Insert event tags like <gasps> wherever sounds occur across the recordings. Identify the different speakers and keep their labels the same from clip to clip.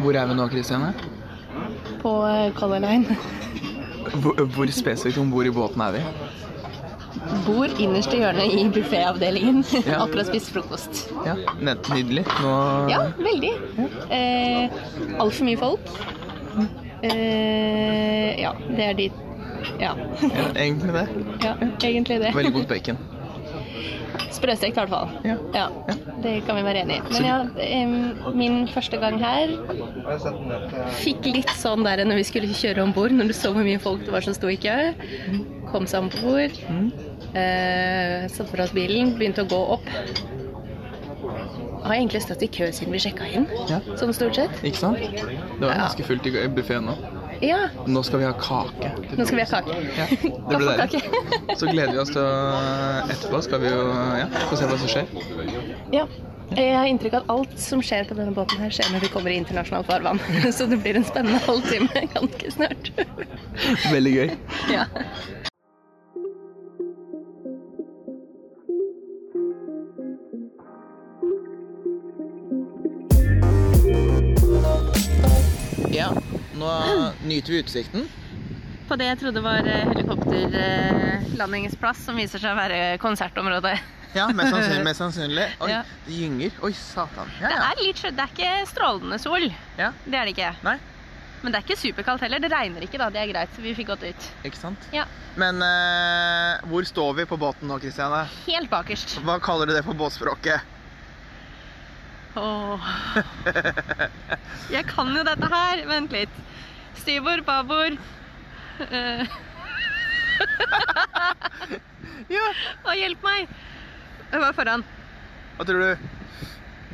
Speaker 1: Hvor er vi nå, Kristiane?
Speaker 2: på eh, Color Line.
Speaker 1: Hvor, hvor spesifikt om bord i båten er vi?
Speaker 2: Bor innerste hjørne i bufféavdelingen. <laughs>
Speaker 1: Ja.
Speaker 2: Akkurat spist frokost.
Speaker 1: Ja, ne- Nydelig. Nå
Speaker 2: Ja, veldig. Eh, Altfor mye folk. Eh, ja, det er de Ja. <laughs>
Speaker 1: Ja, Egentlig det.
Speaker 2: ja egentlig det.
Speaker 1: Veldig godt bacon.
Speaker 2: <laughs> Sprøstekt, i hvert fall.
Speaker 1: Ja.
Speaker 2: Ja, det kan vi være enig i. Men ja, em, min første gang her fikk litt sånn der når vi skulle kjøre om bord, når du så hvor mye folk det var som sto i kø. Kom seg om bord.
Speaker 1: mm,
Speaker 2: Eh, satte fra oss bilen, begynte å gå opp. Har egentlig stått i kø siden vi sjekka inn,
Speaker 1: Ja.
Speaker 2: sånn stort sett.
Speaker 1: Ikke sant? Det var
Speaker 2: Ja.
Speaker 1: ganske fullt i buffeen nå.
Speaker 2: Ja,
Speaker 1: Nå skal vi ha kake.
Speaker 2: nå skal vi ha <laughs> kake.
Speaker 1: Ja, det blir deilig.
Speaker 2: Kaffekake.
Speaker 1: <laughs> Så gleder vi oss til å Etterpå skal vi jo ja, få se hva som skjer.
Speaker 2: <laughs> Ja. Jeg har inntrykk av at alt som skjer på denne båten, her skjer når vi kommer i internasjonalt farvann. <laughs> Så det blir en spennende halvtime <laughs> ganske snart.
Speaker 1: Veldig gøy.
Speaker 2: Ja.
Speaker 1: Ja, nå nyter vi utsikten.
Speaker 2: På det jeg trodde var eh, helikopterlandingsplass, som viser seg å være konsertområdet.
Speaker 1: Ja, mest sannsynlig. Mest
Speaker 2: <laughs>
Speaker 1: sannsynlig. Oi,
Speaker 2: Ja.
Speaker 1: det gynger. Oi, satan.
Speaker 2: Det
Speaker 1: Ja, ja.
Speaker 2: er litt sjø, det er ikke strålende sol.
Speaker 1: ja.
Speaker 2: Det er det ikke.
Speaker 1: Nei,
Speaker 2: Men det er ikke superkaldt heller. Det regner ikke, da. Det er greit. Så vi fikk gått ut.
Speaker 1: ikke sant.
Speaker 2: Ja.
Speaker 1: Men eh, hvor står vi på båten nå, Kristiane?
Speaker 2: Helt bakerst.
Speaker 1: Hva kaller du det på båtspråket?
Speaker 2: Åh. <laughs> Jeg kan jo dette her. Vent litt. Styrbord, babord. Eh, <laughs>
Speaker 1: Ja.
Speaker 2: Å, hjelp meg! Jeg var foran.
Speaker 1: Hva tror du?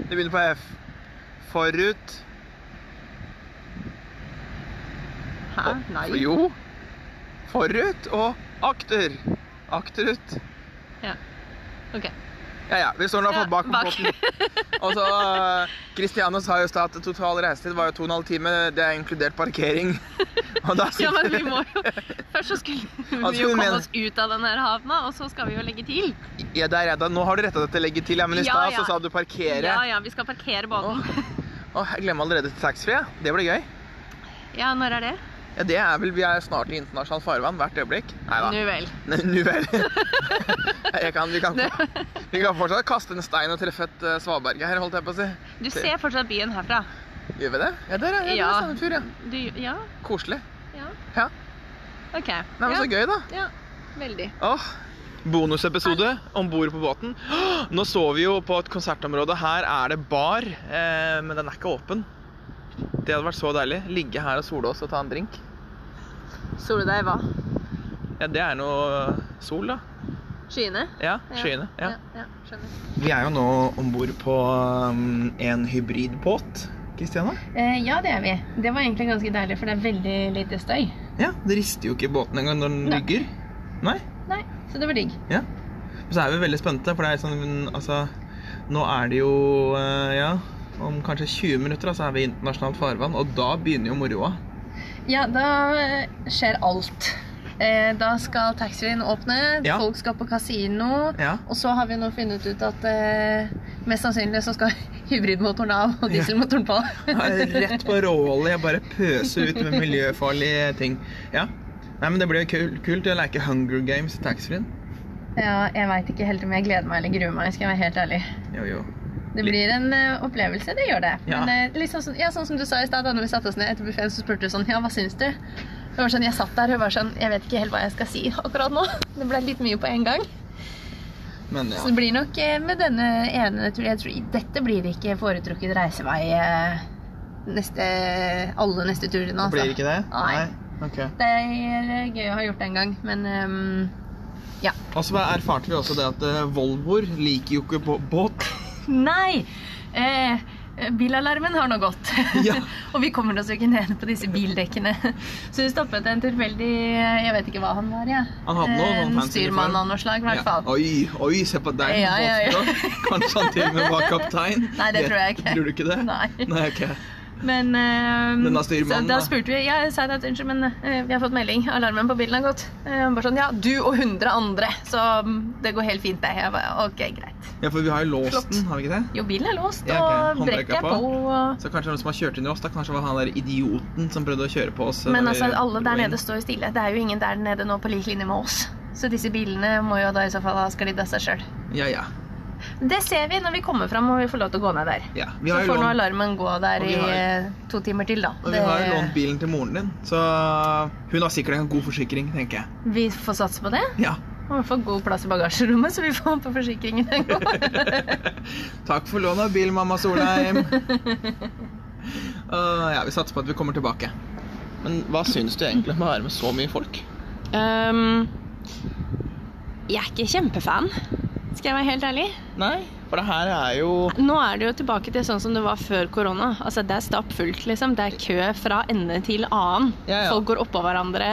Speaker 1: Det begynner på F. Forut.
Speaker 2: Hæ? Nei.
Speaker 1: Jo. Forut og akter. Akterut.
Speaker 2: Ok.
Speaker 1: Ja, ja. Vi står nå
Speaker 2: Ja,
Speaker 1: for bak på
Speaker 2: bak. <laughs>
Speaker 1: båten. Og så Kristiane sa jo i stad at total reisetid var jo to og en halv time. Det er inkludert parkering.
Speaker 2: <laughs>
Speaker 1: Og da
Speaker 2: Ja, men vi må jo Først så
Speaker 1: <laughs>
Speaker 2: skulle vi
Speaker 1: Altså,
Speaker 2: jo
Speaker 1: hun
Speaker 2: komme
Speaker 1: mener-
Speaker 2: oss ut av den her havna, og så skal vi jo legge til.
Speaker 1: Ja, det er jeg da. Nå har du retta deg til å legge til, ja, men i
Speaker 2: Ja,
Speaker 1: stad
Speaker 2: ja.
Speaker 1: så sa du parkere.
Speaker 2: Ja, ja, vi skal parkere båten.
Speaker 1: Åh, jeg glemmer allerede taxfree. ja. Det blir gøy.
Speaker 2: <laughs> Ja, når er det?
Speaker 1: Ja, det er vel Vi er snart i internasjonalt farvann hvert øyeblikk. Nei da.
Speaker 2: Nu vel.
Speaker 1: Nu vel. Jeg kan, vi, kan,
Speaker 2: Det-
Speaker 1: vi kan fortsatt kaste en stein og treffe et eh, svaberg her, holdt jeg på å si.
Speaker 2: Du ser fortsatt byen herfra.
Speaker 1: Gjør vi det? Ja, der er, ja. der
Speaker 2: Ja.
Speaker 1: er Sandefjord, ja.
Speaker 2: Du, ja?
Speaker 1: Koselig.
Speaker 2: Ja.
Speaker 1: Ja.
Speaker 2: OK.
Speaker 1: Nei, men Så
Speaker 2: ja.
Speaker 1: gøy, da.
Speaker 2: ja. Veldig.
Speaker 1: Åh, Bonusepisode om bord på båten. Åh, Nå så vi jo på et konsertområde. Her er det bar, eh, men den er ikke åpen. Det hadde vært så deilig. Ligge her og sole oss og ta en drink.
Speaker 2: Soler deg hva?
Speaker 1: Ja, det er noe eh, sol, da.
Speaker 2: Skyene?
Speaker 1: Ja, skyene. Ja.
Speaker 2: ja, skjønner.
Speaker 1: Vi er jo nå om bord på um, en hybridbåt, Kristiane.
Speaker 2: Eh, ja, det er vi. Det var egentlig ganske deilig, for det er veldig lite støy.
Speaker 1: Ja, det rister jo ikke i båten engang når den
Speaker 2: Nei.
Speaker 1: ligger. Nei.
Speaker 2: Nei, så det var digg.
Speaker 1: Ja. Men så er vi veldig spente, for det er sånn Altså, nå er det jo eh, Ja, om kanskje 20 minutter da, så er vi i internasjonalt farvann, og da begynner jo moroa.
Speaker 2: Ja, da eh, skjer alt. Eh, da skal taxfree-en åpne,
Speaker 1: Ja.
Speaker 2: folk skal på kasino.
Speaker 1: Ja.
Speaker 2: Og så har vi nå funnet ut at eh, mest sannsynlig så skal <laughs> hybridmotoren av og
Speaker 1: Ja.
Speaker 2: dieselmotoren på.
Speaker 1: Rett på råolje, bare pøse ut med miljøfarlige ting. Ja. Nei, men det blir jo kul- kult å leke Hunger Games i taxfree-en.
Speaker 2: <laughs> ja, jeg veit ikke helt om jeg gleder meg eller gruer meg, skal jeg være helt ærlig.
Speaker 1: Jo, jo.
Speaker 2: Det blir en eh, opplevelse, det gjør det.
Speaker 1: Ja.
Speaker 2: Men eh, liksom sånn, ja, sånn som du sa i stad, da når vi satte oss ned etter buffeen, så spurte du sånn Ja, hva syns du? Jeg var sånn, jeg satt der og var sånn Jeg vet ikke helt hva jeg skal si akkurat nå. <laughs> Det ble litt mye på en gang.
Speaker 1: Men ja.
Speaker 2: Så det blir nok eh, med denne ene turen jeg tror, Dette blir ikke foretrukket reisevei eh, neste, alle neste turene. Altså.
Speaker 1: Blir det ikke det?
Speaker 2: Nei.
Speaker 1: Ok.
Speaker 2: Det er eh, gøy å ha gjort det en gang, men ehm,
Speaker 1: Og så erfarte vi også det at eh, Volvoer liker jo ikke bå- båt.
Speaker 2: Nei! Eh, bilalarmen har nå gått.
Speaker 1: <laughs> Ja.
Speaker 2: og vi kommer oss jo ikke ned på disse bildekkene. Så vi stoppet en tilfeldig eh, Jeg vet ikke hva han var, jeg.
Speaker 1: Han hadde noe
Speaker 2: Eh,
Speaker 1: sånn
Speaker 2: en
Speaker 1: fancy uniform.
Speaker 2: styrmann av noe slag, i hvert fall.
Speaker 1: Oi, oi, se på deg.
Speaker 2: Ja, ja, ja. <laughs>
Speaker 1: båtspråk. Kanskje han til og med var kaptein.
Speaker 2: Nei, det tror jeg ikke.
Speaker 1: Tror du ikke det?
Speaker 2: Nei.
Speaker 1: Nei, ok.
Speaker 2: Men eh,
Speaker 1: Denne styrmannen,
Speaker 2: da
Speaker 1: da.
Speaker 2: spurte vi Jeg sa at unnskyld, men eh, vi har fått melding. Alarmen på bilen har gått. Eh, han bare sånn Ja, du og 100 andre. Så mm, det går helt fint, det. Jeg bare OK, greit.
Speaker 1: Ja, for vi har jo låst
Speaker 2: Flott.
Speaker 1: den, har vi ikke det?
Speaker 2: Jo, bilen er låst,
Speaker 1: Ja, ok.
Speaker 2: og
Speaker 1: Håndbrekket
Speaker 2: brekket er
Speaker 1: er
Speaker 2: på.
Speaker 1: på.
Speaker 2: og-
Speaker 1: Så kanskje noen som har kjørt under oss, da kanskje var han der idioten som prøvde å kjøre på oss.
Speaker 2: Men
Speaker 1: når
Speaker 2: altså,
Speaker 1: vi
Speaker 2: alle der
Speaker 1: dro inn.
Speaker 2: nede står jo stille. Det er jo ingen der nede nå på lik linje med oss. Så disse bilene må jo da i så fall ha sklidd av seg sjøl.
Speaker 1: Ja, ja.
Speaker 2: Det ser vi når vi kommer fram og vi får lov til å gå ned der.
Speaker 1: ja. Vi
Speaker 2: Så
Speaker 1: har jo
Speaker 2: får nå
Speaker 1: lånt,
Speaker 2: alarmen gå der
Speaker 1: Og vi
Speaker 2: i
Speaker 1: har-
Speaker 2: eh, to timer til, da.
Speaker 1: og vi har jo lånt bilen til moren din, så hun har sikkert en god forsikring, tenker jeg.
Speaker 2: vi får satse på det.
Speaker 1: Ja.
Speaker 2: Og vi får god plass i bagasjerommet, så vi får håpe forsikringen den <laughs> går.
Speaker 1: Takk for lånet av bil, mamma
Speaker 2: <laughs>
Speaker 1: Solheim. Og ja, vi satser på at vi kommer tilbake. Men hva syns du egentlig om å være med så mye folk?
Speaker 2: Um, jeg er ikke kjempefan, skal jeg være helt ærlig.
Speaker 1: Nei, for det her er jo
Speaker 2: Nå er det jo tilbake til sånn som det var før korona. Altså, det er stappfullt, liksom. Det er kø fra ende til annen.
Speaker 1: Ja, ja.
Speaker 2: Folk går oppå hverandre.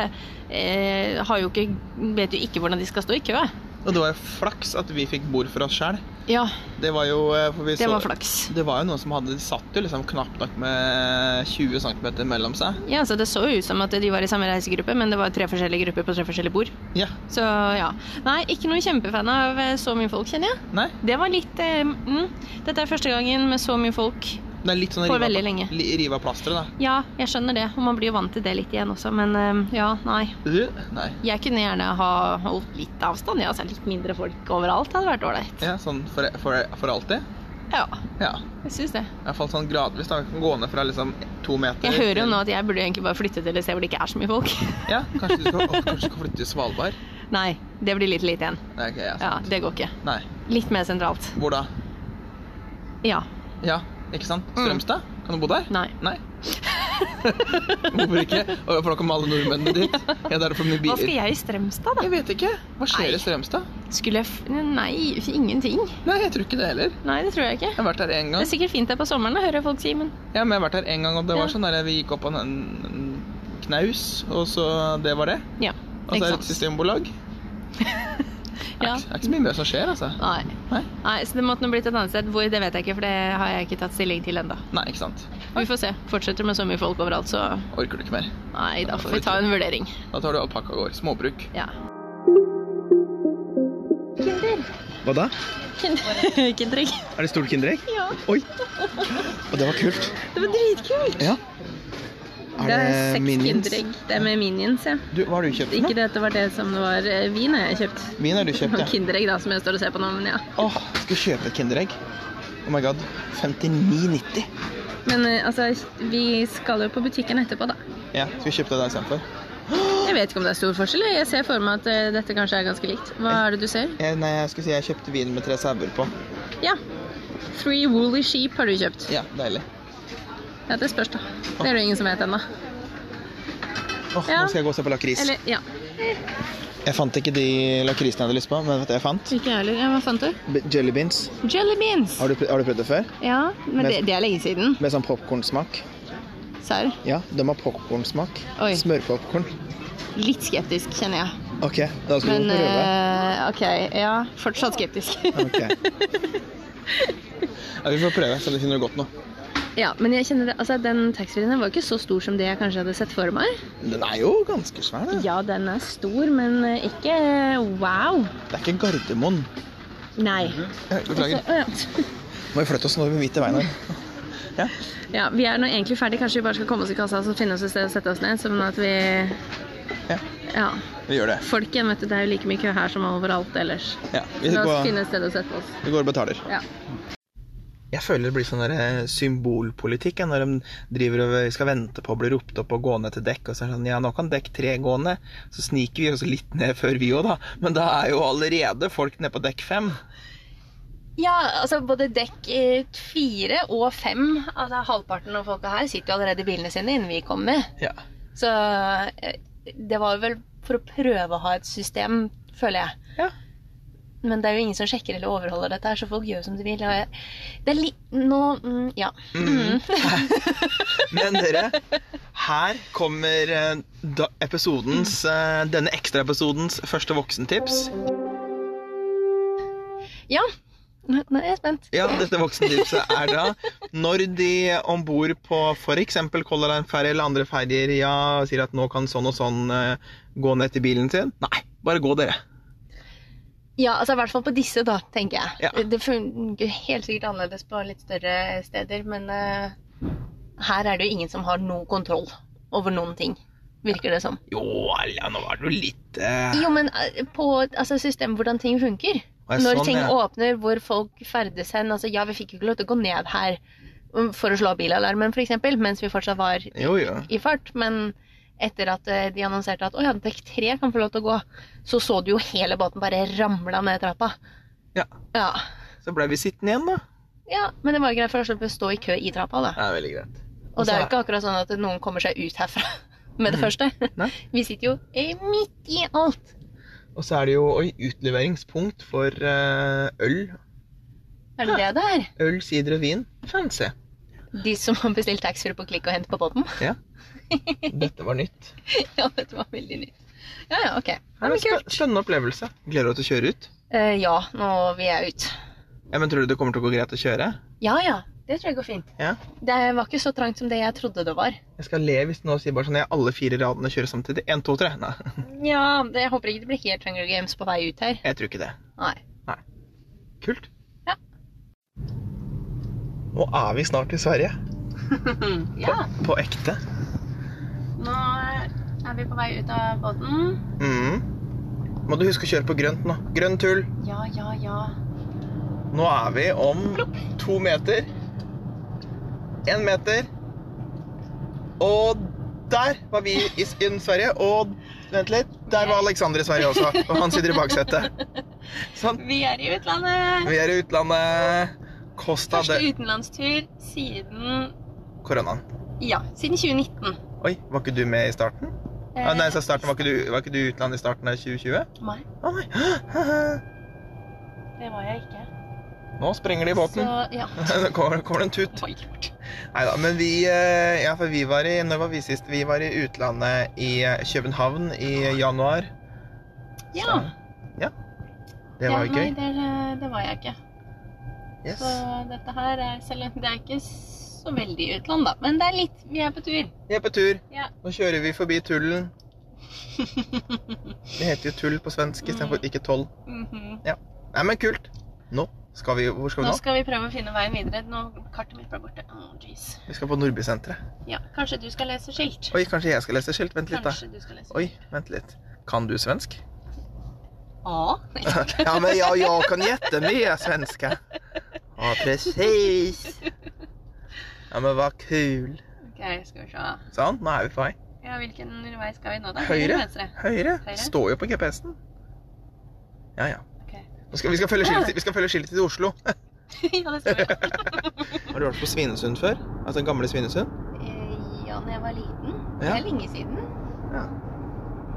Speaker 2: Eh, har jo ikke, vet jo ikke hvordan de skal stå i kø.
Speaker 1: Og det var jo flaks at vi fikk bord for oss sjøl.
Speaker 2: Ja,
Speaker 1: Det var jo eh, for vi
Speaker 2: det
Speaker 1: så-
Speaker 2: var flaks.
Speaker 1: Det var jo noen som hadde satt jo liksom knapt nok med 20 cm mellom seg.
Speaker 2: Ja, så Det så jo ut som at de var i samme reisegruppe, men det var tre forskjellige grupper på tre forskjellige bord.
Speaker 1: Ja.
Speaker 2: Så ja. Nei, ikke noe kjempefan av eh, så mye folk, kjenner jeg.
Speaker 1: Nei.
Speaker 2: Det var litt eh, mm. Dette er første gangen med så mye folk.
Speaker 1: Det er litt sånn
Speaker 2: For
Speaker 1: riva-
Speaker 2: veldig lenge.
Speaker 1: li- riva plasteret, da.
Speaker 2: Ja, jeg skjønner det, og man blir jo vant til det litt igjen også, men eh, ja, nei.
Speaker 1: Du? Nei.
Speaker 2: Jeg kunne gjerne ha holdt litt avstand, ja, altså litt mindre folk overalt hadde vært ålreit.
Speaker 1: Ja, sånn for, for, for alltid?
Speaker 2: Ja,
Speaker 1: Ja.
Speaker 2: jeg syns det.
Speaker 1: I hvert fall sånn gradvis. da. Vi kan gå ned fra liksom to meter
Speaker 2: Jeg hører jo
Speaker 1: til-
Speaker 2: nå at jeg burde egentlig bare flytte til et sted hvor det ikke er så mye folk. <laughs>
Speaker 1: Ja, kanskje du skal, å, kanskje du skal flytte til Svalbard?
Speaker 2: Nei, det blir litt lite igjen.
Speaker 1: Nei, ok, ja,
Speaker 2: Ja,
Speaker 1: sant.
Speaker 2: Det går ikke.
Speaker 1: Nei.
Speaker 2: Litt mer sentralt.
Speaker 1: Hvor da?
Speaker 2: Ja.
Speaker 1: Ja, ikke sant?
Speaker 2: Mm.
Speaker 1: Strømstad? Kan du bo der?
Speaker 2: Nei.
Speaker 1: Nei. <laughs> Hvorfor ikke? Og For da kommer alle nordmennene dit. Ja, der er det for mye
Speaker 2: Hva skal
Speaker 1: biler.
Speaker 2: jeg i Strømstad, da?
Speaker 1: Jeg vet ikke. Hva
Speaker 2: Nei.
Speaker 1: skjer i Strømstad?
Speaker 2: Skulle jeg f... Nei, ingenting.
Speaker 1: Nei, jeg tror ikke det heller.
Speaker 2: Nei, det tror jeg ikke.
Speaker 1: Jeg har vært der én
Speaker 2: Det
Speaker 1: gang.
Speaker 2: er sikkert fint der på sommeren, hører jeg folk si, men
Speaker 1: Ja, men jeg har vært der en gang, og det var
Speaker 2: Ja.
Speaker 1: sånn der vi gikk opp på en, en en knaus, og så det var det.
Speaker 2: ja.
Speaker 1: Og så er det et systembolag. Det
Speaker 2: Ja.
Speaker 1: er ikke- det er ikke så mye mer som skjer, altså.
Speaker 2: Nei.
Speaker 1: Nei.
Speaker 2: Nei, så det måtte nå blitt et annet sted. Hvor, det vet jeg ikke, for det har jeg ikke tatt stilling til ennå.
Speaker 1: Nei, ikke sant.
Speaker 2: Vi får se. Fortsetter med så mye folk overalt, så
Speaker 1: Orker du ikke mer?
Speaker 2: nei, da får vi ta en vurdering.
Speaker 1: Da tar du alpakkagård. Småbruk.
Speaker 2: Ja.
Speaker 1: Hva da?
Speaker 2: <laughs> Kinderegg.
Speaker 1: Er det stort kinderegg?
Speaker 2: Ja,
Speaker 1: Oi! Og det var kult.
Speaker 2: det var dritkult.
Speaker 1: Ja.
Speaker 2: Det er seks Kinderegg. Det er med Minions, ja.
Speaker 1: Du, hva har du kjøpt? for
Speaker 2: Ikke
Speaker 1: noe?
Speaker 2: det at det var det som det var eh, vin har jeg kjøpt.
Speaker 1: Vin har du kjøpt,
Speaker 2: Og
Speaker 1: ja.
Speaker 2: Kinderegg, da, som jeg står og ser på nå, men ja.
Speaker 1: Åh, skal vi kjøpe et kinderegg? Oh my god. 59,90.
Speaker 2: Men eh, altså, vi skal jo på butikken etterpå, da.
Speaker 1: Ja, skal vi kjøpe det der istedenfor?
Speaker 2: Jeg vet ikke om det er stor forskjell. jeg. Jeg ser for meg at eh, dette kanskje er ganske likt. Hva er det du ser?
Speaker 1: Eh, Nei, jeg skulle si jeg kjøpte vin med tre sauer på.
Speaker 2: Ja. Three woolly sheep har du kjøpt.
Speaker 1: Ja, deilig.
Speaker 2: Ja, det spørs, da. Det er det ingen som vet ennå.
Speaker 1: Åh,
Speaker 2: Ja.
Speaker 1: Nå skal jeg gå og se på lakris.
Speaker 2: Eller, ja.
Speaker 1: Jeg fant ikke de lakrisene jeg hadde lyst på, men vet du hva jeg fant?
Speaker 2: Ikke jeg heller. Ja, hva fant du?
Speaker 1: B jelly beans.
Speaker 2: Jelly beans.
Speaker 1: Har du, pr- har du prøvd det før?
Speaker 2: Ja, men det, det er lenge siden.
Speaker 1: Med sånn popkornsmak.
Speaker 2: Serr.
Speaker 1: Ja, de har popkornsmak.
Speaker 2: Oi.
Speaker 1: Smørpopkorn.
Speaker 2: Litt skeptisk, kjenner jeg.
Speaker 1: Ok, da skal
Speaker 2: Men
Speaker 1: vi prøve.
Speaker 2: eh, OK. Ja, fortsatt skeptisk.
Speaker 1: Ok. Ja, vi får prøve, så det finner du godt nå.
Speaker 2: <laughs> ja, men jeg kjenner det. Altså, den taxfree-en var ikke så stor som det jeg kanskje hadde sett for meg.
Speaker 1: Den er jo ganske svær, da.
Speaker 2: Ja, den er stor, men eh, ikke wow.
Speaker 1: Det er ikke Gardermoen.
Speaker 2: Nei.
Speaker 1: Eh, Beklager.
Speaker 2: Altså, å, ja.
Speaker 1: Må vi flytte oss nå, vi er midt i veien her. Ja.
Speaker 2: ja, vi er nå egentlig ferdig. Kanskje vi bare skal komme oss i kassa og så finne oss et sted å sette oss ned, sånn at vi
Speaker 1: Ja.
Speaker 2: Ja.
Speaker 1: Vi gjør det.
Speaker 2: Folk igjen, vet du. Det er jo like mye kø her som overalt ellers.
Speaker 1: Ja, vi,
Speaker 2: La oss
Speaker 1: går,
Speaker 2: finne et sted å sette oss.
Speaker 1: vi går og betaler.
Speaker 2: Ja.
Speaker 1: Jeg føler det blir sånn der, eh, symbolpolitikk ja, når de driver og eh, skal vente på å bli ropt opp og gå ned til dekk. Og så er det sånn, ja, nå kan dekk tre gå ned. Så sniker vi oss litt ned før vi òg, da. Men da er jo allerede folk nede på dekk fem.
Speaker 2: Ja, altså både dekk eh, fire og fem, altså halvparten av folka her, sitter jo allerede i bilene sine innen vi kommer.
Speaker 1: Ja.
Speaker 2: Så eh, det var vel for å prøve å ha et system, føler jeg.
Speaker 1: Ja.
Speaker 2: Men det er jo ingen som sjekker eller overholder dette her, så folk gjør som de vil. Og jeg, det er li... Nå mm, Ja.
Speaker 1: Mm.
Speaker 2: Mhm.
Speaker 1: <laughs>
Speaker 2: <laughs>
Speaker 1: Men dere, her kommer eh, da, episodens, eh, denne ekstraepisodens første voksentips.
Speaker 2: Ja. <laughs> Nå nå er jeg spent.
Speaker 1: Ja, dette voksentipset er da når de om bord på f.eks. Color Line-ferje eller andre ferjer ja, sier at nå kan sånn og sånn eh, gå ned til bilen sin. Nei, bare gå, dere.
Speaker 2: Ja, altså i hvert fall på disse, da, tenker jeg.
Speaker 1: Ja.
Speaker 2: Det fungerer helt sikkert annerledes på litt større steder, men eh, her er det jo ingen som har noe kontroll over noen ting, virker det som.
Speaker 1: Jo, ja, nå var det jo litt eh,
Speaker 2: Jo, men eh, på altså, systemet hvordan ting funker.
Speaker 1: og jeg
Speaker 2: Når
Speaker 1: sånn,
Speaker 2: ting
Speaker 1: ja.
Speaker 2: åpner, hvor folk ferdes hen. Altså, ja, vi fikk jo ikke lov til å gå ned her um, for å slå av bilalarmen, f.eks., mens vi fortsatt var i-
Speaker 1: Jo, jo.
Speaker 2: i fart. Men etter at eh, de annonserte at å ja, dekk tre kan få lov til å gå, så så du jo hele båten bare ramla ned trappa.
Speaker 1: Ja.
Speaker 2: ja.
Speaker 1: Så ble vi sittende igjen, da.
Speaker 2: Ja, men det var greit for å slippe å stå i kø i trappa, da.
Speaker 1: Det er veldig greit.
Speaker 2: Og det er jo ikke akkurat sånn at noen kommer seg ut herfra <laughs> med
Speaker 1: altså-
Speaker 2: det
Speaker 1: Mm.
Speaker 2: første.
Speaker 1: Nei.
Speaker 2: <laughs> Vi sitter jo eh, midt i alt.
Speaker 1: Og så er det jo oi, utleveringspunkt for eh, øl.
Speaker 2: Er det det det er?
Speaker 1: Øl, sider og vin. Fancy.
Speaker 2: De som har bestilt taxfree på klikk og hent på båten?
Speaker 1: Dette var nytt.
Speaker 2: <laughs> Ja, dette var veldig nytt. Ja, ja, ok.
Speaker 1: Det er
Speaker 2: <laughs> Ja, men
Speaker 1: en
Speaker 2: kult.
Speaker 1: spen- spennende opplevelse. Gleder du deg til å kjøre ut?
Speaker 2: Eh, ja, nå vil jeg ut.
Speaker 1: Ja, men Tror du det kommer til å gå greit å kjøre?
Speaker 2: Ja, ja. Det tror jeg går fint.
Speaker 1: Ja.
Speaker 2: Det var ikke så trangt som det jeg trodde
Speaker 1: <laughs>
Speaker 2: det var.
Speaker 1: Jeg skal le hvis du nå sier bare sånn jeg alle fire radene kjører samtidig. Én, to, tre. Nei, <laughs>
Speaker 2: Ja, det, jeg håper ikke det blir helt Hunger Games på vei ut her.
Speaker 1: jeg tror ikke det. <laughs>
Speaker 2: Nei.
Speaker 1: Kult.
Speaker 2: Ja.
Speaker 1: Nå er vi snart i Sverige.
Speaker 2: ja,
Speaker 1: På ekte.
Speaker 2: nå er vi på vei ut av båten.
Speaker 1: Mhm. Må du huske å kjøre på grønt nå. Grønn tull.
Speaker 2: Ja, ja, ja.
Speaker 1: Nå er vi om to meter. Én meter. Og der var vi i S- i Sverige. Og vent litt, der var Alexander i Sverige også. Og han sitter i
Speaker 2: <laughs>
Speaker 1: baksetet. Sånn.
Speaker 2: Vi er i utlandet.
Speaker 1: Vi er i utlandet. Costa
Speaker 2: Første
Speaker 1: de
Speaker 2: utenlandstur siden
Speaker 1: Coronaen.
Speaker 2: Ja, siden 2019.
Speaker 1: Oi, var ikke du med i starten? Ah, nei, så starten, var ikke du, var ikke du i utlandet i starten av 2020?
Speaker 2: Nei,
Speaker 1: Å nei.
Speaker 2: det var jeg ikke.
Speaker 1: <gasps> Nå sprenger de i båten.
Speaker 2: Så, ja.
Speaker 1: <laughs> Nå kommer, kommer det en tut.
Speaker 2: Oi,
Speaker 1: <laughs>
Speaker 2: lort.
Speaker 1: Nei da, men vi, eh, ja, for vi var i, når var vi sist? Vi var i utlandet i eh, København i januar.
Speaker 2: Ja.
Speaker 1: Ja. Det var
Speaker 2: ja,
Speaker 1: jo gøy.
Speaker 2: Nei, det, det var jeg ikke.
Speaker 1: Yes.
Speaker 2: Så dette her er selv om det er ikke så veldig utland, da. Men det er litt. Vi er på tur.
Speaker 1: Vi er på tur.
Speaker 2: Ja.
Speaker 1: Nå kjører vi forbi
Speaker 2: <laughs>
Speaker 1: Tullen. Det heter jo Tull på svensk istedenfor
Speaker 2: Mm.
Speaker 1: ikke Toll.
Speaker 2: Mhm.
Speaker 1: Nei, men kult. Nå skal vi Hvor skal vi
Speaker 2: Nå
Speaker 1: nå?
Speaker 2: skal vi prøve å finne veien videre. Nå Kartet mitt ble borte. Å, jeez.
Speaker 1: Vi skal på Nordbysenteret.
Speaker 2: Ja, kanskje du skal lese skilt?
Speaker 1: Oi, kanskje jeg skal lese skilt? Vent litt, da.
Speaker 2: Kanskje du skal lese
Speaker 1: Oi, vent litt. Kan du svensk?
Speaker 2: Ja.
Speaker 1: <laughs> Ja, men jag, jag kan jättemycket svenska. Ja, precis. Ja, men vad kul.
Speaker 2: Ok, skal vi se.
Speaker 1: Sånn, nå er vi på vei.
Speaker 2: Ja, hvilken vei skal vi nå, da?
Speaker 1: Høyre.
Speaker 2: Eller Venstre? <laughs>
Speaker 1: Høyre.
Speaker 2: Høyre.
Speaker 1: Står jo på GPS-en. Ja, ja.
Speaker 2: Ok.
Speaker 1: Nå skal, vi, skal følge skiltet, vi skal følge skiltet til Oslo.
Speaker 2: ja, det skal vi.
Speaker 1: Har du vært på Svinesund før? Altså den gamle Svinesund?
Speaker 2: Eh, Ja, da jeg var liten. Det
Speaker 1: Ja.
Speaker 2: er lenge siden.
Speaker 1: Ja.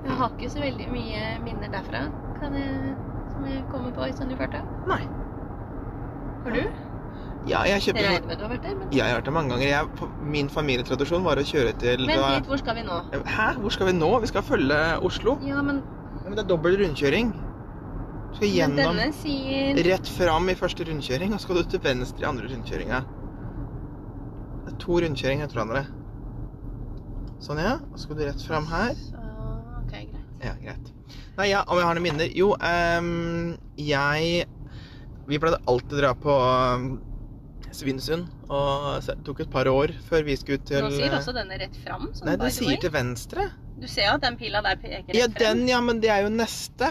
Speaker 2: Jeg har ikke så veldig mye minner derfra kan jeg, som jeg kommer på i sånn i farta.
Speaker 1: Nei.
Speaker 2: Har du?
Speaker 1: Ja, jeg
Speaker 2: Det
Speaker 1: kjøper
Speaker 2: regner
Speaker 1: sånn.
Speaker 2: med du har vært der. Men,
Speaker 1: Ja, jeg har vært der mange ganger. Jeg, min familietradisjon var å kjøre til
Speaker 2: Vent litt, hvor skal vi nå?
Speaker 1: Hæ? Hvor skal vi nå? Vi skal følge Oslo.
Speaker 2: Ja, men,
Speaker 1: Ja, men det er dobbel rundkjøring. Vi skal
Speaker 2: men
Speaker 1: gjennom
Speaker 2: denne sier
Speaker 1: rett fram i første rundkjøring, og så skal du til venstre i andre rundkjøringa. Det er to rundkjøringer etter hverandre. Sånn, ja. Og så skal du rett fram her.
Speaker 2: Så, ok, greit.
Speaker 1: Ja, greit. Nei, ja, om jeg har noen minner Jo, ehm, jeg Vi pleide alltid å dra på ehm, Svinesund, og så- det tok et par år før vi skulle ut til eh,
Speaker 2: Nå sier også denne rett fram.
Speaker 1: Nei, den sier til venstre.
Speaker 2: Du ser jo at den pila der peker rett
Speaker 1: Ja, den, ja, men det er jo neste.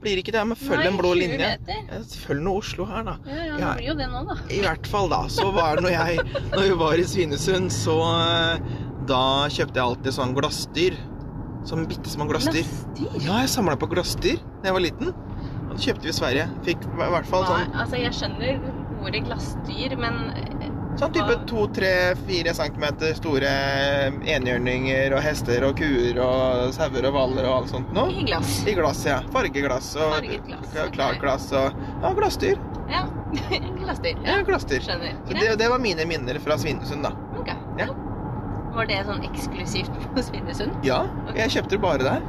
Speaker 1: Blir ikke det? Men følg
Speaker 2: Nei,
Speaker 1: en blå
Speaker 2: 20
Speaker 1: linje.
Speaker 2: Meter.
Speaker 1: Ja, Følg nå Oslo her, da.
Speaker 2: Ja, ja, det
Speaker 1: Ja.
Speaker 2: blir jo det nå, da.
Speaker 1: I hvert fall da, så var det når jeg Når vi var i Svinesund, så eh, Da kjøpte jeg alltid sånn glassdyr. Sånn bitte små glassdyr.
Speaker 2: Laster.
Speaker 1: Ja, jeg samla på glassdyr da jeg var liten. Og det kjøpte vi i Sverige. Fikk i hvert fall
Speaker 2: Nei,
Speaker 1: sånn,
Speaker 2: altså, jeg skjønner ordet glassdyr, men eh,
Speaker 1: sånn type to, tre, fire centimeter store eh, enhjørninger og hester og kuer og sauer og hvaler og alt sånt noe.
Speaker 2: I glass.
Speaker 1: I glass, ja. Fargeglass og
Speaker 2: Farget glass,
Speaker 1: ja,
Speaker 2: ok.
Speaker 1: klart glass og Ja, glassdyr.
Speaker 2: Ja. <laughs> Glassdyr.
Speaker 1: Ja, glassdyr.
Speaker 2: Skjønner.
Speaker 1: Så
Speaker 2: Greit.
Speaker 1: det, det var mine minner fra Svinesund, da.
Speaker 2: Ok.
Speaker 1: Ja.
Speaker 2: Var det sånn eksklusivt <laughs> på Svinesund? Ah,
Speaker 1: Ja, jeg kjøpte det bare der.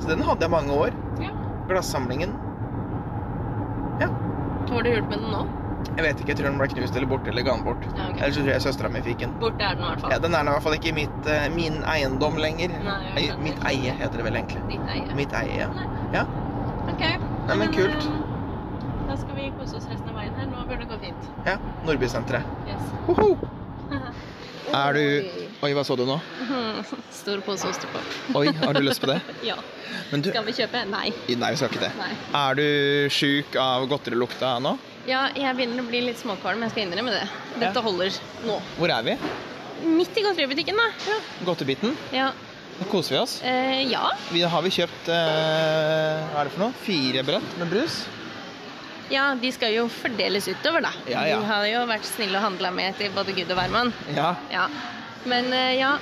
Speaker 1: Så den hadde jeg mange år.
Speaker 2: Ja.
Speaker 1: Glassamlingen.
Speaker 2: Var det hult med den nå?
Speaker 1: Jeg vet ikke, jeg tror den ble knust eller borte eller ga den bort.
Speaker 2: Ja, ok.
Speaker 1: Ellers så tror jeg søstera mi fikk den.
Speaker 2: Borte er den i hvert fall.
Speaker 1: Ja, den er nå i hvert fall ikke i mitt, eh, min eiendom lenger.
Speaker 2: Nei, jeg
Speaker 1: Ei,
Speaker 2: skjønner.
Speaker 1: mitt eie heter det vel egentlig.
Speaker 2: Ditt eie.
Speaker 1: Mitt eie, ja. Ja.
Speaker 2: Ok.
Speaker 1: Nei, men kult.
Speaker 2: eh, Da skal vi kose oss resten av veien her. Nå bør det gå fint.
Speaker 1: ja. Nordbysenteret.
Speaker 2: Yes.
Speaker 1: Hoho! Er du Oi, hva så du nå?
Speaker 2: <laughs> Stor pose ostepop.
Speaker 1: Oi, har du lyst på det?
Speaker 2: Ja.
Speaker 1: Men du
Speaker 2: Skal vi kjøpe? Nei.
Speaker 1: Nei, vi skal ikke det.
Speaker 2: Nei.
Speaker 1: Er du sjuk av godterilukta nå?
Speaker 2: Ja, jeg begynner å bli litt småkvalm. Jeg skal innrømme det. Dette
Speaker 1: Ja.
Speaker 2: holder nå.
Speaker 1: Hvor er vi?
Speaker 2: Midt i godteributikken, da.
Speaker 1: Godtebiten?
Speaker 2: Ja.
Speaker 1: Nå koser vi oss.
Speaker 2: Eh, ja.
Speaker 1: Vi har vi kjøpt eh, Hva er det for noe? Fire brett med brus?
Speaker 2: ja, de skal jo fordeles utover, da.
Speaker 1: Ja, ja.
Speaker 2: De har jo vært snille og handla med til både Gud og hvermann.
Speaker 1: Ja.
Speaker 2: Ja. Men eh, ja,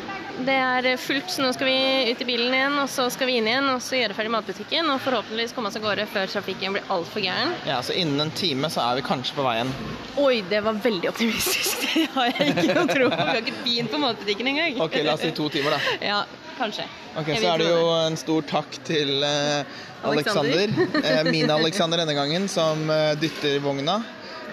Speaker 2: det er fullt, så nå skal vi ut i bilen igjen, og så skal vi inn igjen og så gjøre ferdig matbutikken, og forhåpentligvis komme oss av gårde før trafikken blir altfor gæren.
Speaker 1: ja. Så innen en time så er vi kanskje på veien.
Speaker 2: Oi, det var veldig optimistisk. <laughs> Det har jeg ikke noe tro på. Vi har ikke begynt på matbutikken engang.
Speaker 1: Ok, la oss si to timer, da.
Speaker 2: Ja, kanskje.
Speaker 1: Ok,
Speaker 2: Jeg
Speaker 1: Så
Speaker 2: vil
Speaker 1: er det
Speaker 2: tro
Speaker 1: jo en stor takk til eh,
Speaker 2: Alexander.
Speaker 1: Alexander. eh, min Alexander denne gangen, som eh, dytter vogna.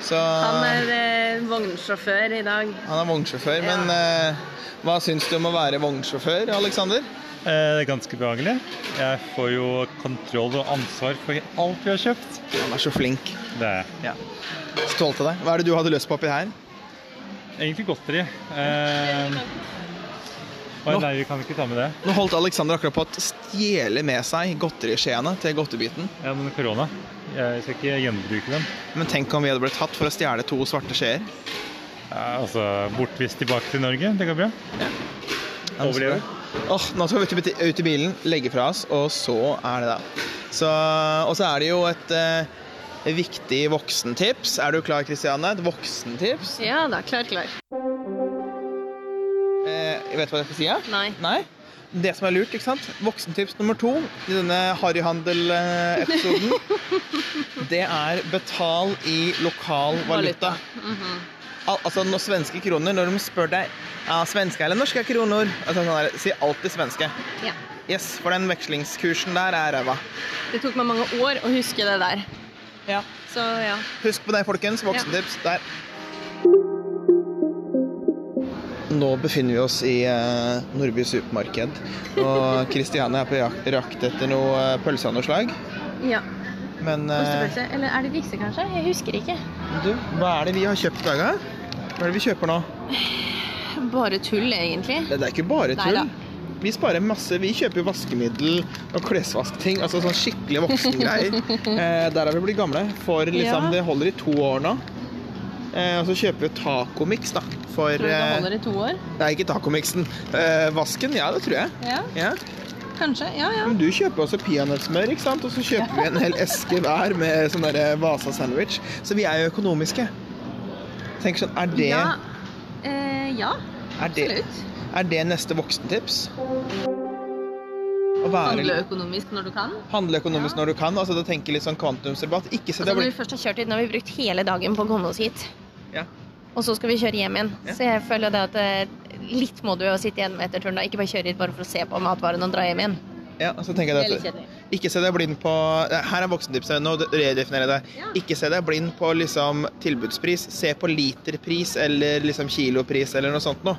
Speaker 1: Så
Speaker 2: Han er eh, vognsjåfør i dag.
Speaker 1: han er vognsjåfør.
Speaker 2: Ja.
Speaker 1: Men eh, hva syns du om å være vognsjåfør, Alexander?
Speaker 3: Eh, Det er ganske behagelig. Jeg får jo kontroll og ansvar for alt vi har kjøpt.
Speaker 1: Han er så flink.
Speaker 3: Det er
Speaker 1: Ja. Stolt av deg. Hva er det du hadde lyst på oppi her?
Speaker 3: egentlig godteri. Eh, oi, nei, vi kan ikke ta med det.
Speaker 1: Nå holdt Alexander akkurat på å stjele med seg godteriskjeene til godtebiten.
Speaker 3: Ja, men korona. Jeg skal ikke gjenbruke dem.
Speaker 1: Men tenk om vi hadde blitt tatt for å stjele to svarte skjeer.
Speaker 3: Eh, altså, bortvist tilbake til Norge. Det går bra. Overlever.
Speaker 1: Åh, nå skal vi ut i buti- ut i bilen, legge fra oss, og så er det det. Så, og så er det jo et eh, viktig voksentips. Er du klar, Kristiane? Et voksentips?
Speaker 2: Ja da, klar, klar.
Speaker 1: Eh, jeg vet hva jeg skal si? Ja?
Speaker 2: Nei.
Speaker 1: Nei? Det som er lurt, ikke sant? Voksentips nummer to i denne harryhandel-episoden, det er betal i lokal valuta. Al altså når svenske kroner, når de spør deg ja, svenske eller norske kroner, altså, sånn der, si alltid svenske.
Speaker 2: Ja.
Speaker 1: Yes, for den vekslingskursen der er ræva.
Speaker 2: Det tok meg mange år å huske det der.
Speaker 1: Ja.
Speaker 2: Så ja.
Speaker 1: Husk på det, folkens. Voksentips der. Nå befinner vi oss i eh, Nordby supermarked, og Kristiane er på jak- jakt etter noe eh, pølse av noe slag.
Speaker 2: ja.
Speaker 1: Men eh,
Speaker 2: Ostepølse. Eller er det disse, kanskje? Jeg husker ikke.
Speaker 1: du, hva er det vi har kjøpt i dag, da? Hva er det vi kjøper nå?
Speaker 2: Bare tull, egentlig.
Speaker 1: Det, det er ikke bare tull.
Speaker 2: Neida.
Speaker 1: Vi sparer masse. Vi kjøper jo vaskemiddel og klesvaskting. Altså sånn skikkelig
Speaker 2: <laughs>
Speaker 1: voksengreier. eh, der har vi blitt gamle. For liksom,
Speaker 2: Ja.
Speaker 1: det holder i to år nå. Eh, og så kjøper vi Tacomix, da. For
Speaker 2: Tror du det
Speaker 1: eh,
Speaker 2: holder i to år?
Speaker 1: Nei, ikke tacomixen. Eh, vasken, ja, det tror jeg.
Speaker 2: Ja,
Speaker 1: Ja.
Speaker 2: kanskje. Ja, ja.
Speaker 1: Men du kjøper også peanøttsmør, ikke sant? Og så kjøper vi en hel eske hver med sånn derre Vasa-sandwich. Så vi er jo økonomiske. Tenk sånn, er det,
Speaker 2: Ja. Eh, ja,
Speaker 1: er det,
Speaker 2: absolutt.
Speaker 1: er det neste voksentips? Å være
Speaker 2: Handle
Speaker 1: litt-
Speaker 2: økonomisk når du kan.
Speaker 1: Handle økonomisk når du kan, altså da tenker litt sånn kvantumsrabatt. Ikke se
Speaker 2: Altså,
Speaker 1: det
Speaker 2: når
Speaker 1: blir
Speaker 2: vi først har kjørt hit, nå har vi brukt hele dagen på å komme oss hit.
Speaker 1: Ja.
Speaker 2: Og så skal vi kjøre hjem igjen.
Speaker 1: Ja.
Speaker 2: Så jeg føler det at eh, litt må du jo sitte igjen med etter turen. da. Ikke bare kjøre hit bare for å se på matvarene og dra hjem igjen.
Speaker 1: ja, så tenker jeg
Speaker 2: Det er
Speaker 1: det
Speaker 2: litt
Speaker 1: at-
Speaker 2: kjedelig.
Speaker 1: Ikke se deg blind på Her er voksentipset. Nå redefinerer jeg det.
Speaker 2: Ja.
Speaker 1: Ikke se deg blind på liksom tilbudspris. Se på literpris eller liksom kilopris eller noe sånt noe.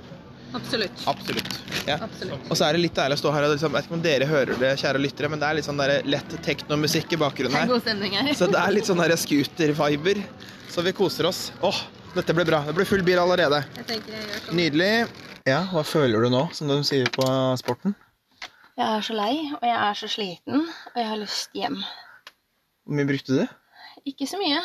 Speaker 2: Absolutt.
Speaker 1: Absolutt. Ja.
Speaker 2: Absolutt.
Speaker 1: Og så er det litt deilig å stå her og liksom, jeg vet ikke om dere hører det, kjære lyttere, men det er litt sånn der lett teknomusikk i
Speaker 2: Det er
Speaker 1: bakgrunnen her.
Speaker 2: god stemning her.
Speaker 1: Så det er litt sånn der scooter-viber. Så vi koser oss. Åh, dette ble bra. Det ble full bil allerede.
Speaker 2: Jeg tenker jeg gjør sånn.
Speaker 1: Nydelig. Ja, hva føler du nå, som de sier på sporten?
Speaker 2: Jeg er så lei, og jeg er så sliten, og jeg har lyst hjem.
Speaker 1: Hvor mye brukte du?
Speaker 2: Ikke så mye.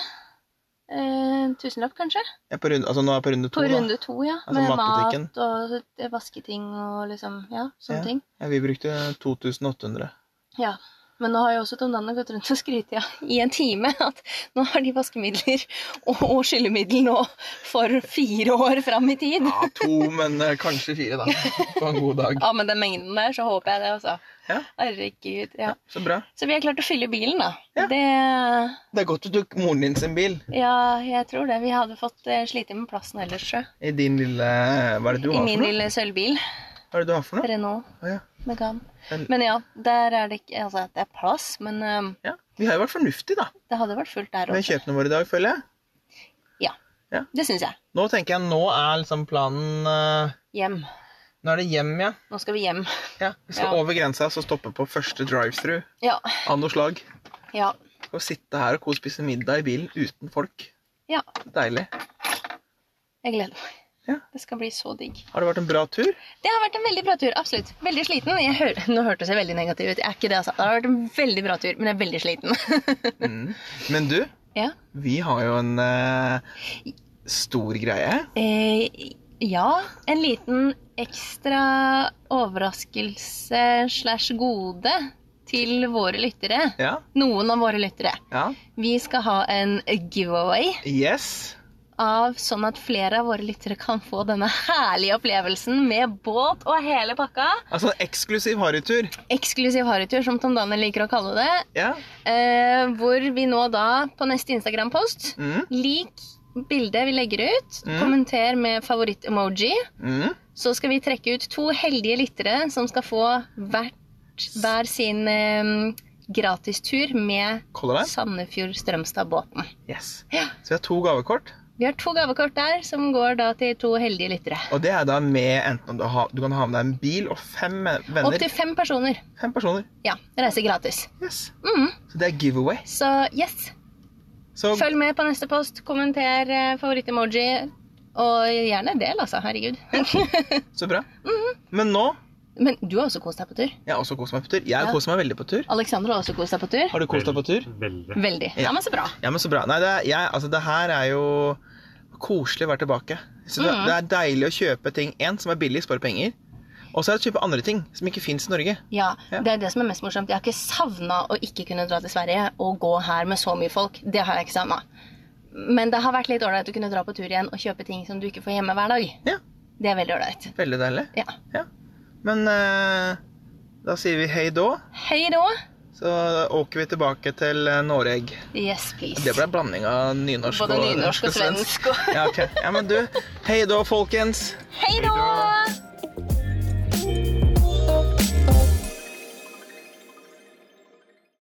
Speaker 2: Eh, tusenlapp, kanskje?
Speaker 1: Jeg er på runde, altså nå er jeg på runde to.
Speaker 2: På
Speaker 1: da.
Speaker 2: runde to, ja.
Speaker 1: Altså
Speaker 2: med
Speaker 1: matbutikken.
Speaker 2: mat og eh, vasketing og liksom Ja, sånne
Speaker 1: Ja.
Speaker 2: ting.
Speaker 1: Ja, vi brukte 2800.
Speaker 2: Ja. Men nå har jo også Tom Danne gått rundt og skrytt ja, i en time <laughs> at nå har de vaskemidler og, og skyllemiddel nå for fire år fram i tid.
Speaker 1: Ja, to, men eh, kanskje fire, da. På en god dag.
Speaker 2: Ja, med den mengden der, så håper jeg det, altså.
Speaker 1: Ja.
Speaker 2: Herregud. Ja.
Speaker 1: Så bra.
Speaker 2: Så vi har klart å fylle bilen, da.
Speaker 1: Ja.
Speaker 2: Det
Speaker 1: Det er godt du tok moren din sin bil
Speaker 2: Ja, jeg tror det. Vi hadde fått eh, slite med plassen ellers, sjø.
Speaker 1: i din lille Hva er det du
Speaker 2: I
Speaker 1: har
Speaker 2: min
Speaker 1: for noe?
Speaker 2: lille sølvbil.
Speaker 1: Hva er det du har for noe?
Speaker 2: Renault
Speaker 1: Å, ja.
Speaker 2: Megane.
Speaker 1: En-
Speaker 2: Men ja, der er det ikke Altså, det er plass, men eh,
Speaker 1: ja. Vi har jo vært fornuftige, da,
Speaker 2: det hadde vært fullt der
Speaker 1: med
Speaker 2: også.
Speaker 1: kjøpene våre i dag, føler jeg.
Speaker 2: Det syns jeg.
Speaker 1: Nå tenker jeg, nå er liksom planen eh,
Speaker 2: Hjem.
Speaker 1: Nå er det hjem, ja.
Speaker 2: Nå skal vi hjem.
Speaker 1: ja vi skal
Speaker 2: Ja.
Speaker 1: over grensa og stoppe på første drive-through
Speaker 2: Ja.
Speaker 1: av noe slag.
Speaker 2: Ja.
Speaker 1: Og sitte her og kosepise middag i bilen uten folk.
Speaker 2: Ja.
Speaker 1: Deilig.
Speaker 2: Jeg gleder meg.
Speaker 1: Ja.
Speaker 2: Det skal bli så digg.
Speaker 1: Har det vært en bra tur?
Speaker 2: Det har vært en veldig bra tur. Absolutt. Veldig sliten. Jeg hører, <laughs> nå hørtes jeg veldig negativ ut. Jeg er ikke det, altså. Det har vært en veldig bra tur, men jeg er veldig sliten. <laughs>
Speaker 1: Mm. Men du,
Speaker 2: ja.
Speaker 1: vi har jo en eh, stor greie.
Speaker 2: Eh, ja. En liten ekstra overraskelse slash gode til våre lyttere.
Speaker 1: Ja.
Speaker 2: Noen av våre lyttere.
Speaker 1: ja.
Speaker 2: Vi skal ha en giveaway
Speaker 1: Yes.
Speaker 2: av sånn at flere av våre lyttere kan få denne herlige opplevelsen med båt og hele pakka.
Speaker 1: Altså en eksklusiv harrytur.
Speaker 2: Eksklusiv harrytur, som Tom Daniel liker å kalle det.
Speaker 1: Ja.
Speaker 2: Eh, hvor vi nå da, på neste Instagram-post,
Speaker 1: Mm.
Speaker 2: lik bildet vi legger ut,
Speaker 1: Mm.
Speaker 2: kommenter med favoritt-emoji,
Speaker 1: Mm.
Speaker 2: så skal vi trekke ut to heldige lyttere som skal få hvert, hver sin eh, gratistur med
Speaker 1: Color Line.
Speaker 2: Sandefjord-Strømstad-båten.
Speaker 1: Yes.
Speaker 2: Ja.
Speaker 1: Så vi har to gavekort.
Speaker 2: Vi har to gavekort der, som går da til to heldige lyttere.
Speaker 1: Og det er da med enten om du, har, du kan ha med deg en bil og fem venner.
Speaker 2: Opptil fem personer.
Speaker 1: Fem personer.
Speaker 2: Ja, reiser gratis.
Speaker 1: Yes.
Speaker 2: Mm.
Speaker 1: Så det er giveaway.
Speaker 2: Så yes,
Speaker 1: Så
Speaker 2: følg med på neste post, kommenter eh, favoritt-emoji, og gjerne del, altså. Herregud. <laughs>
Speaker 1: Så bra.
Speaker 2: Mhm.
Speaker 1: Men nå
Speaker 2: Men du har også kost deg på tur.
Speaker 1: Jeg har også kost meg på tur. Jeg har
Speaker 2: Ja.
Speaker 1: kost meg veldig på tur.
Speaker 2: Alexander har også kost deg på tur.
Speaker 1: Har du kost deg på tur?
Speaker 3: Veldig.
Speaker 2: Veldig.
Speaker 1: Ja.
Speaker 2: Ja, men så bra.
Speaker 1: Ja, men så bra. Nei, det, er, jeg, altså, det her er jo koselig å være tilbake. Så det,
Speaker 2: Mhm.
Speaker 1: det er deilig å kjøpe ting. En, som er billig, sparer penger. Og så er det å kjøpe andre ting som ikke fins i Norge.
Speaker 2: Ja,
Speaker 1: Ja.
Speaker 2: Det er det som er mest morsomt. Jeg har ikke savna å ikke kunne dra til Sverige og gå her med så mye folk. Det har jeg ikke savna. Men det har vært litt ålreit å kunne dra på tur igjen og kjøpe ting som du ikke får hjemme hver dag.
Speaker 1: Ja.
Speaker 2: Det er veldig ålreit.
Speaker 1: Veldig deilig.
Speaker 2: Ja.
Speaker 1: Men eh, da sier vi hei da.
Speaker 2: Hei da.
Speaker 1: Så åker vi tilbake til eh, Noreg.
Speaker 2: Yes, please.
Speaker 1: Det ble en blanding av nynorsk,
Speaker 2: Både nynorsk og svensk. og-
Speaker 1: Ja, ok. ja, men du, hei da, folkens.
Speaker 2: Hei da!